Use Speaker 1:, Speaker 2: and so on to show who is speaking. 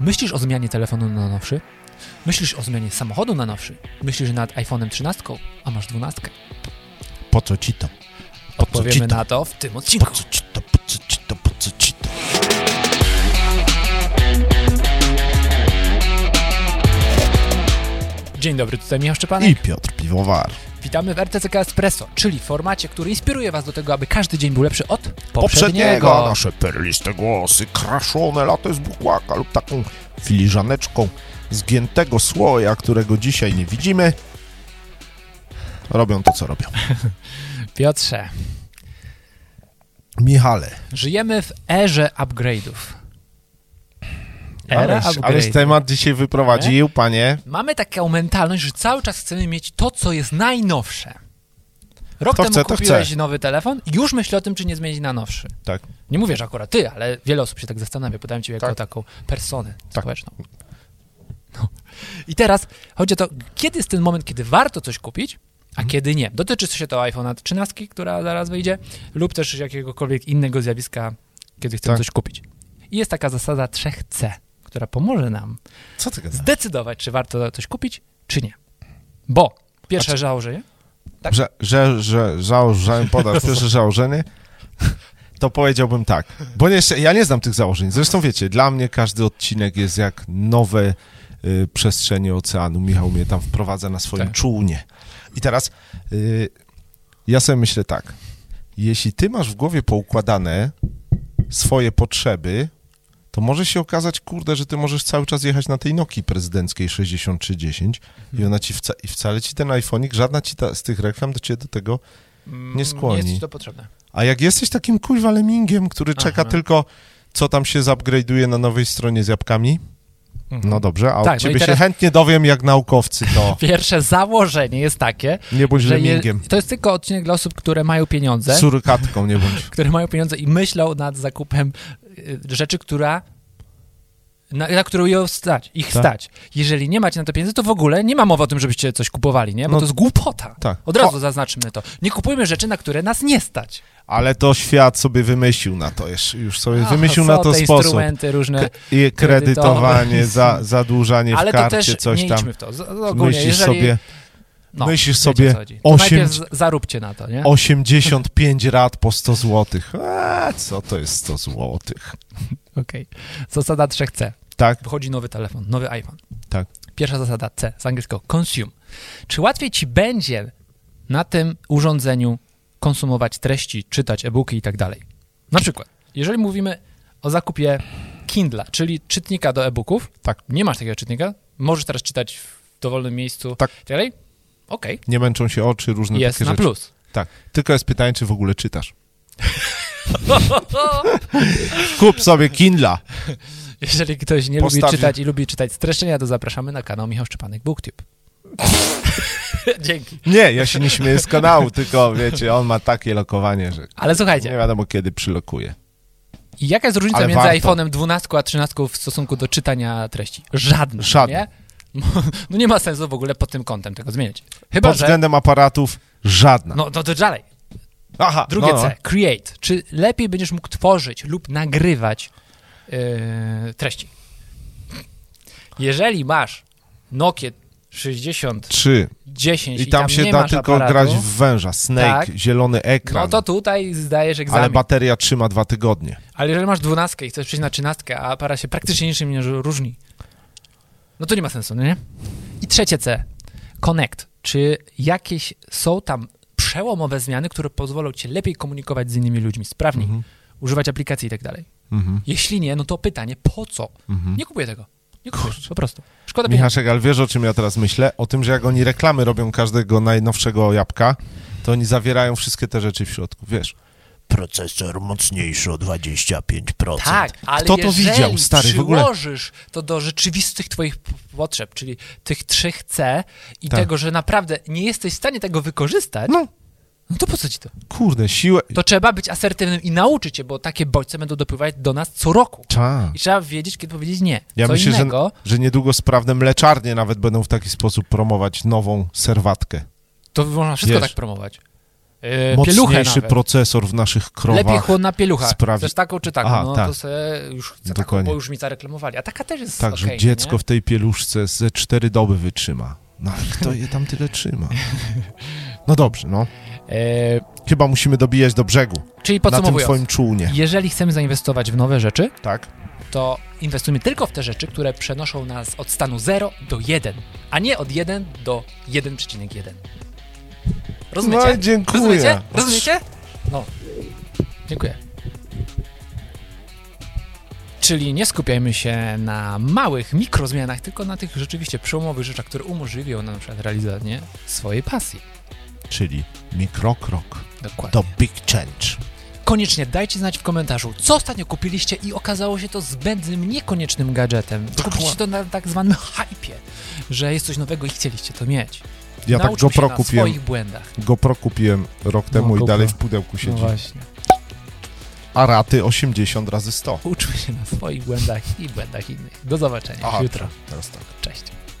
Speaker 1: Myślisz o zmianie telefonu na nowszy? Myślisz o zmianie samochodu na nowszy? Myślisz nad iPhone'em 13, a masz 12?
Speaker 2: Po co ci to? Po co ci
Speaker 1: Odpowiemy
Speaker 2: to?
Speaker 1: na to w tym
Speaker 2: Po
Speaker 1: odcinku.
Speaker 2: co ci to? Po co ci to? Po co ci to?
Speaker 1: Dzień dobry, tutaj Michał Szczepanek.
Speaker 2: I Piotr Piwowar.
Speaker 1: Witamy w RTCK Espresso, czyli formacie, który inspiruje Was do tego, aby każdy dzień był lepszy od poprzedniego.
Speaker 2: Poprzedniego nasze perliste głosy, kraszone latem z bukłaka lub taką filiżaneczką zgiętego słoja, którego dzisiaj nie widzimy, robią to, co robią.
Speaker 1: Piotrze,
Speaker 2: Michale,
Speaker 1: żyjemy w erze upgrade'ów. Era
Speaker 2: aleś,
Speaker 1: upgrade'ów.
Speaker 2: aleś temat dzisiaj wyprowadził, panie.
Speaker 1: Mamy taką mentalność, że cały czas chcemy mieć to, co jest najnowsze. Rok
Speaker 2: To
Speaker 1: temu
Speaker 2: chcę, to
Speaker 1: kupiłeś
Speaker 2: chcę.
Speaker 1: nowy telefon i już myślę o tym, czy nie zmienić na nowszy.
Speaker 2: Tak.
Speaker 1: Nie mówię, że akurat ty, ale wiele osób się tak zastanawia. Pytałem cię jako
Speaker 2: Tak.
Speaker 1: taką personę
Speaker 2: Tak.
Speaker 1: społeczną. No. I teraz chodzi o to, kiedy jest ten moment, kiedy warto coś kupić,
Speaker 2: Mhm.
Speaker 1: a kiedy nie. Dotyczy się to iPhone'a 13, która zaraz wyjdzie, lub też jakiegokolwiek innego zjawiska, kiedy chcemy
Speaker 2: Tak.
Speaker 1: coś kupić. I jest taka zasada 3C, która pomoże nam
Speaker 2: Co ty gadasz?
Speaker 1: zdecydować, czy warto coś kupić, czy nie. Bo pierwsze
Speaker 2: Znaczy,
Speaker 1: założenie,
Speaker 2: Że, że, że założenie, podasz pierwsze założenie, to powiedziałbym tak. Bo nie, jeszcze- ja nie znam tych założeń. Zresztą wiecie, dla mnie każdy odcinek jest jak nowe y, przestrzenie oceanu. Michał mnie tam wprowadza na swoim
Speaker 1: Tak.
Speaker 2: czółnie. I teraz y, ja sobie myślę tak. Jeśli ty masz w głowie poukładane swoje potrzeby, to może się okazać, kurde, że ty możesz cały czas jechać na tej Nokii prezydenckiej 6310 i ona ci wca- i wcale ci ten iPhonik, żadna ci ta, z tych reklam do ciebie do tego
Speaker 1: mm,
Speaker 2: Nie skłoni.
Speaker 1: jest ci to potrzebne.
Speaker 2: a jak jesteś takim kurwa lemingiem, który
Speaker 1: Aha.
Speaker 2: czeka tylko, co tam się zupgrade'uje na nowej stronie z jabłkami,
Speaker 1: Mhm.
Speaker 2: no dobrze, a
Speaker 1: Tak, no i
Speaker 2: od ciebie
Speaker 1: teraz-
Speaker 2: się chętnie dowiem, jak naukowcy to.
Speaker 1: Pierwsze założenie jest takie,
Speaker 2: Nie bądź
Speaker 1: że je,
Speaker 2: lemingiem.
Speaker 1: to jest tylko odcinek dla osób, które mają pieniądze,
Speaker 2: Surykatką nie bądź.
Speaker 1: które mają pieniądze i myślą nad zakupem y, rzeczy, która na, na którą ją stać, ich
Speaker 2: Tak.
Speaker 1: stać. Jeżeli nie macie na to pieniędzy, to w ogóle nie ma mowy o tym, żebyście coś kupowali, nie? Bo
Speaker 2: No.
Speaker 1: to jest głupota.
Speaker 2: Tak.
Speaker 1: Od razu zaznaczmy to. Nie kupujmy rzeczy, na które nas nie stać.
Speaker 2: Ale to świat sobie wymyślił na to, już, już sobie
Speaker 1: A,
Speaker 2: wymyślił
Speaker 1: są
Speaker 2: na to
Speaker 1: No, te
Speaker 2: sposób.
Speaker 1: instrumenty różne.
Speaker 2: K- i kredytowanie,
Speaker 1: kredytowe.
Speaker 2: za, zadłużanie
Speaker 1: Ale
Speaker 2: w karcie,
Speaker 1: to też
Speaker 2: coś
Speaker 1: nie
Speaker 2: tam.
Speaker 1: idźmy w to. Z, ogólnie,
Speaker 2: Myślisz
Speaker 1: jeżeli,
Speaker 2: sobie
Speaker 1: no,
Speaker 2: myślisz
Speaker 1: wiecie, o
Speaker 2: sobie
Speaker 1: co chodzi. To
Speaker 2: osiem-
Speaker 1: Najpierw z- zaróbcie na to, nie?
Speaker 2: 85 rat po 100 złotych. Eee, co to jest 100 złotych?
Speaker 1: Okej. Zasada 3C.
Speaker 2: Tak?
Speaker 1: Wychodzi nowy telefon, nowy iPhone.
Speaker 2: Tak.
Speaker 1: Pierwsza zasada C, z angielskiego consume. Czy łatwiej ci będzie na tym urządzeniu konsumować treści, czytać e-booki i tak dalej? Na przykład, jeżeli mówimy o zakupie Kindla, czyli czytnika do e-booków,
Speaker 2: Tak.
Speaker 1: nie masz takiego czytnika, możesz teraz czytać w dowolnym miejscu
Speaker 2: Tak.
Speaker 1: i tak dalej? Okej,
Speaker 2: Nie męczą się oczy, różne
Speaker 1: jest
Speaker 2: No, takie
Speaker 1: na
Speaker 2: rzeczy.
Speaker 1: plus.
Speaker 2: Tak. Tylko jest pytanie, czy w ogóle czytasz. Kup sobie Kindla.
Speaker 1: Jeżeli ktoś nie lubi
Speaker 2: Postawi-
Speaker 1: czytać i lubi czytać streszczenia, to zapraszamy na kanał Michał Szczepanek Booktube. Dzięki.
Speaker 2: Nie, ja się nie śmieję z kanału, tylko wiecie, on ma takie lokowanie, że
Speaker 1: Ale słuchajcie,
Speaker 2: nie wiadomo kiedy przylokuje.
Speaker 1: I jaka jest różnica
Speaker 2: Ale
Speaker 1: między
Speaker 2: warto.
Speaker 1: iPhone'em 12 a 13 w stosunku do czytania treści? Żadna.
Speaker 2: Żadna.
Speaker 1: Nie? No nie ma sensu w ogóle pod tym kątem tego zmieniać. Chyba,
Speaker 2: Pod
Speaker 1: że...
Speaker 2: względem aparatów żadna.
Speaker 1: No to, to dalej.
Speaker 2: Aha,
Speaker 1: Drugie
Speaker 2: no, no.
Speaker 1: C. Create. Czy lepiej będziesz mógł tworzyć lub nagrywać yy, treści? Jeżeli masz Nokia 6010
Speaker 2: Trzy.
Speaker 1: i,
Speaker 2: I tam, się
Speaker 1: nie
Speaker 2: da
Speaker 1: masz
Speaker 2: tylko
Speaker 1: aparatu,
Speaker 2: grać w węża. Snake,
Speaker 1: Tak.
Speaker 2: zielony ekran.
Speaker 1: No to tutaj zdajesz egzamin.
Speaker 2: ale
Speaker 1: Ale,
Speaker 2: bateria trzyma dwa tygodnie.
Speaker 1: jeżeli masz 12 i chcesz przejść na 13, a para się praktycznie niczym nie różni, no to nie ma sensu, no nie? I trzecie C. Connect. Czy jakieś są tam przełomowe zmiany, które pozwolą ci lepiej komunikować z innymi ludźmi, sprawniej, używać aplikacji i tak dalej?
Speaker 2: Mhm.
Speaker 1: Jeśli nie, no to pytanie, po co? Nie kupuję tego. Nie kupuję, po prostu. Szkoda pieniędzy.
Speaker 2: Michaszek, ale wiesz o czym ja teraz myślę? O tym, że jak oni reklamy robią każdego najnowszego jabłka, to oni zawierają wszystkie te rzeczy w środku, wiesz.
Speaker 3: procesor mocniejszy o 25%.
Speaker 1: Tak, ale
Speaker 2: Kto to
Speaker 1: jeżeli
Speaker 2: widział, stary, w ogóle?
Speaker 1: przyłożysz to do rzeczywistych twoich p- potrzeb, czyli tych trzech C i
Speaker 2: Tak.
Speaker 1: tego, że naprawdę nie jesteś w stanie tego wykorzystać, no,
Speaker 2: No.
Speaker 1: to po co ci to?
Speaker 2: Kurde, siłę...
Speaker 1: To trzeba być asertywnym i nauczyć się, bo takie bodźce będą dopływać do nas co roku.
Speaker 2: Ta.
Speaker 1: I trzeba wiedzieć, kiedy powiedzieć nie.
Speaker 2: Ja
Speaker 1: co
Speaker 2: myślę, że,
Speaker 1: innego,
Speaker 2: że niedługo sprawne mleczarnie nawet będą w taki sposób promować nową serwatkę.
Speaker 1: to można wszystko
Speaker 2: Wiesz.
Speaker 1: tak promować. e, pieluchę
Speaker 2: Mocniejszy
Speaker 1: nawet.
Speaker 2: procesor w naszych krowach.
Speaker 1: Lepiej chłodna pielucha.
Speaker 2: sprawi-
Speaker 1: Chcesz taką czy taką?
Speaker 2: Aha,
Speaker 1: no
Speaker 2: tak.
Speaker 1: to se już chcę taką,
Speaker 2: Dokładnie.
Speaker 1: bo już mi zareklamowali. A taka też jest
Speaker 2: tak,
Speaker 1: okej,
Speaker 2: że dziecko
Speaker 1: nie?
Speaker 2: w tej pieluszce ze cztery doby wytrzyma. No ale kto je tam tyle trzyma? No dobrze, no.
Speaker 1: E,
Speaker 2: Chyba musimy dobijać do brzegu.
Speaker 1: czyli
Speaker 2: na tym
Speaker 1: podsumowując,
Speaker 2: twoim czółnie.
Speaker 1: jeżeli chcemy zainwestować w nowe rzeczy,
Speaker 2: Tak?
Speaker 1: to inwestujmy tylko w te rzeczy, które przenoszą nas od stanu 0 do 1, a nie od 1 do 1,1. Rozumiecie?
Speaker 2: No i dziękuję.
Speaker 1: Rozumiecie? Rozumiecie? No. Dziękuję. Czyli nie skupiajmy się na małych mikrozmianach, tylko na tych rzeczywiście przełomowych rzeczach, które umożliwią nam na przykład realizowanie swojej pasji.
Speaker 2: Czyli mikrokrok
Speaker 1: Dokładnie.
Speaker 2: do big change.
Speaker 1: Koniecznie dajcie znać w komentarzu, co ostatnio kupiliście i okazało się to zbędnym, niekoniecznym gadżetem. Kupiliście to na tak zwanym hypie, że jest coś nowego i chcieliście to mieć.
Speaker 2: Ja tak
Speaker 1: Nauczmy
Speaker 2: GoPro
Speaker 1: się na
Speaker 2: kupiłem.
Speaker 1: swoich błędach.
Speaker 2: GoPro kupiłem rok temu i
Speaker 1: GoPro.
Speaker 2: dalej w pudełku siedzi.
Speaker 1: No właśnie.
Speaker 2: A raty 80 razy 100.
Speaker 1: Uczmy się na swoich błędach i błędach innych. Do zobaczenia
Speaker 2: Aha,
Speaker 1: jutro.
Speaker 2: teraz tak.
Speaker 1: Cześć.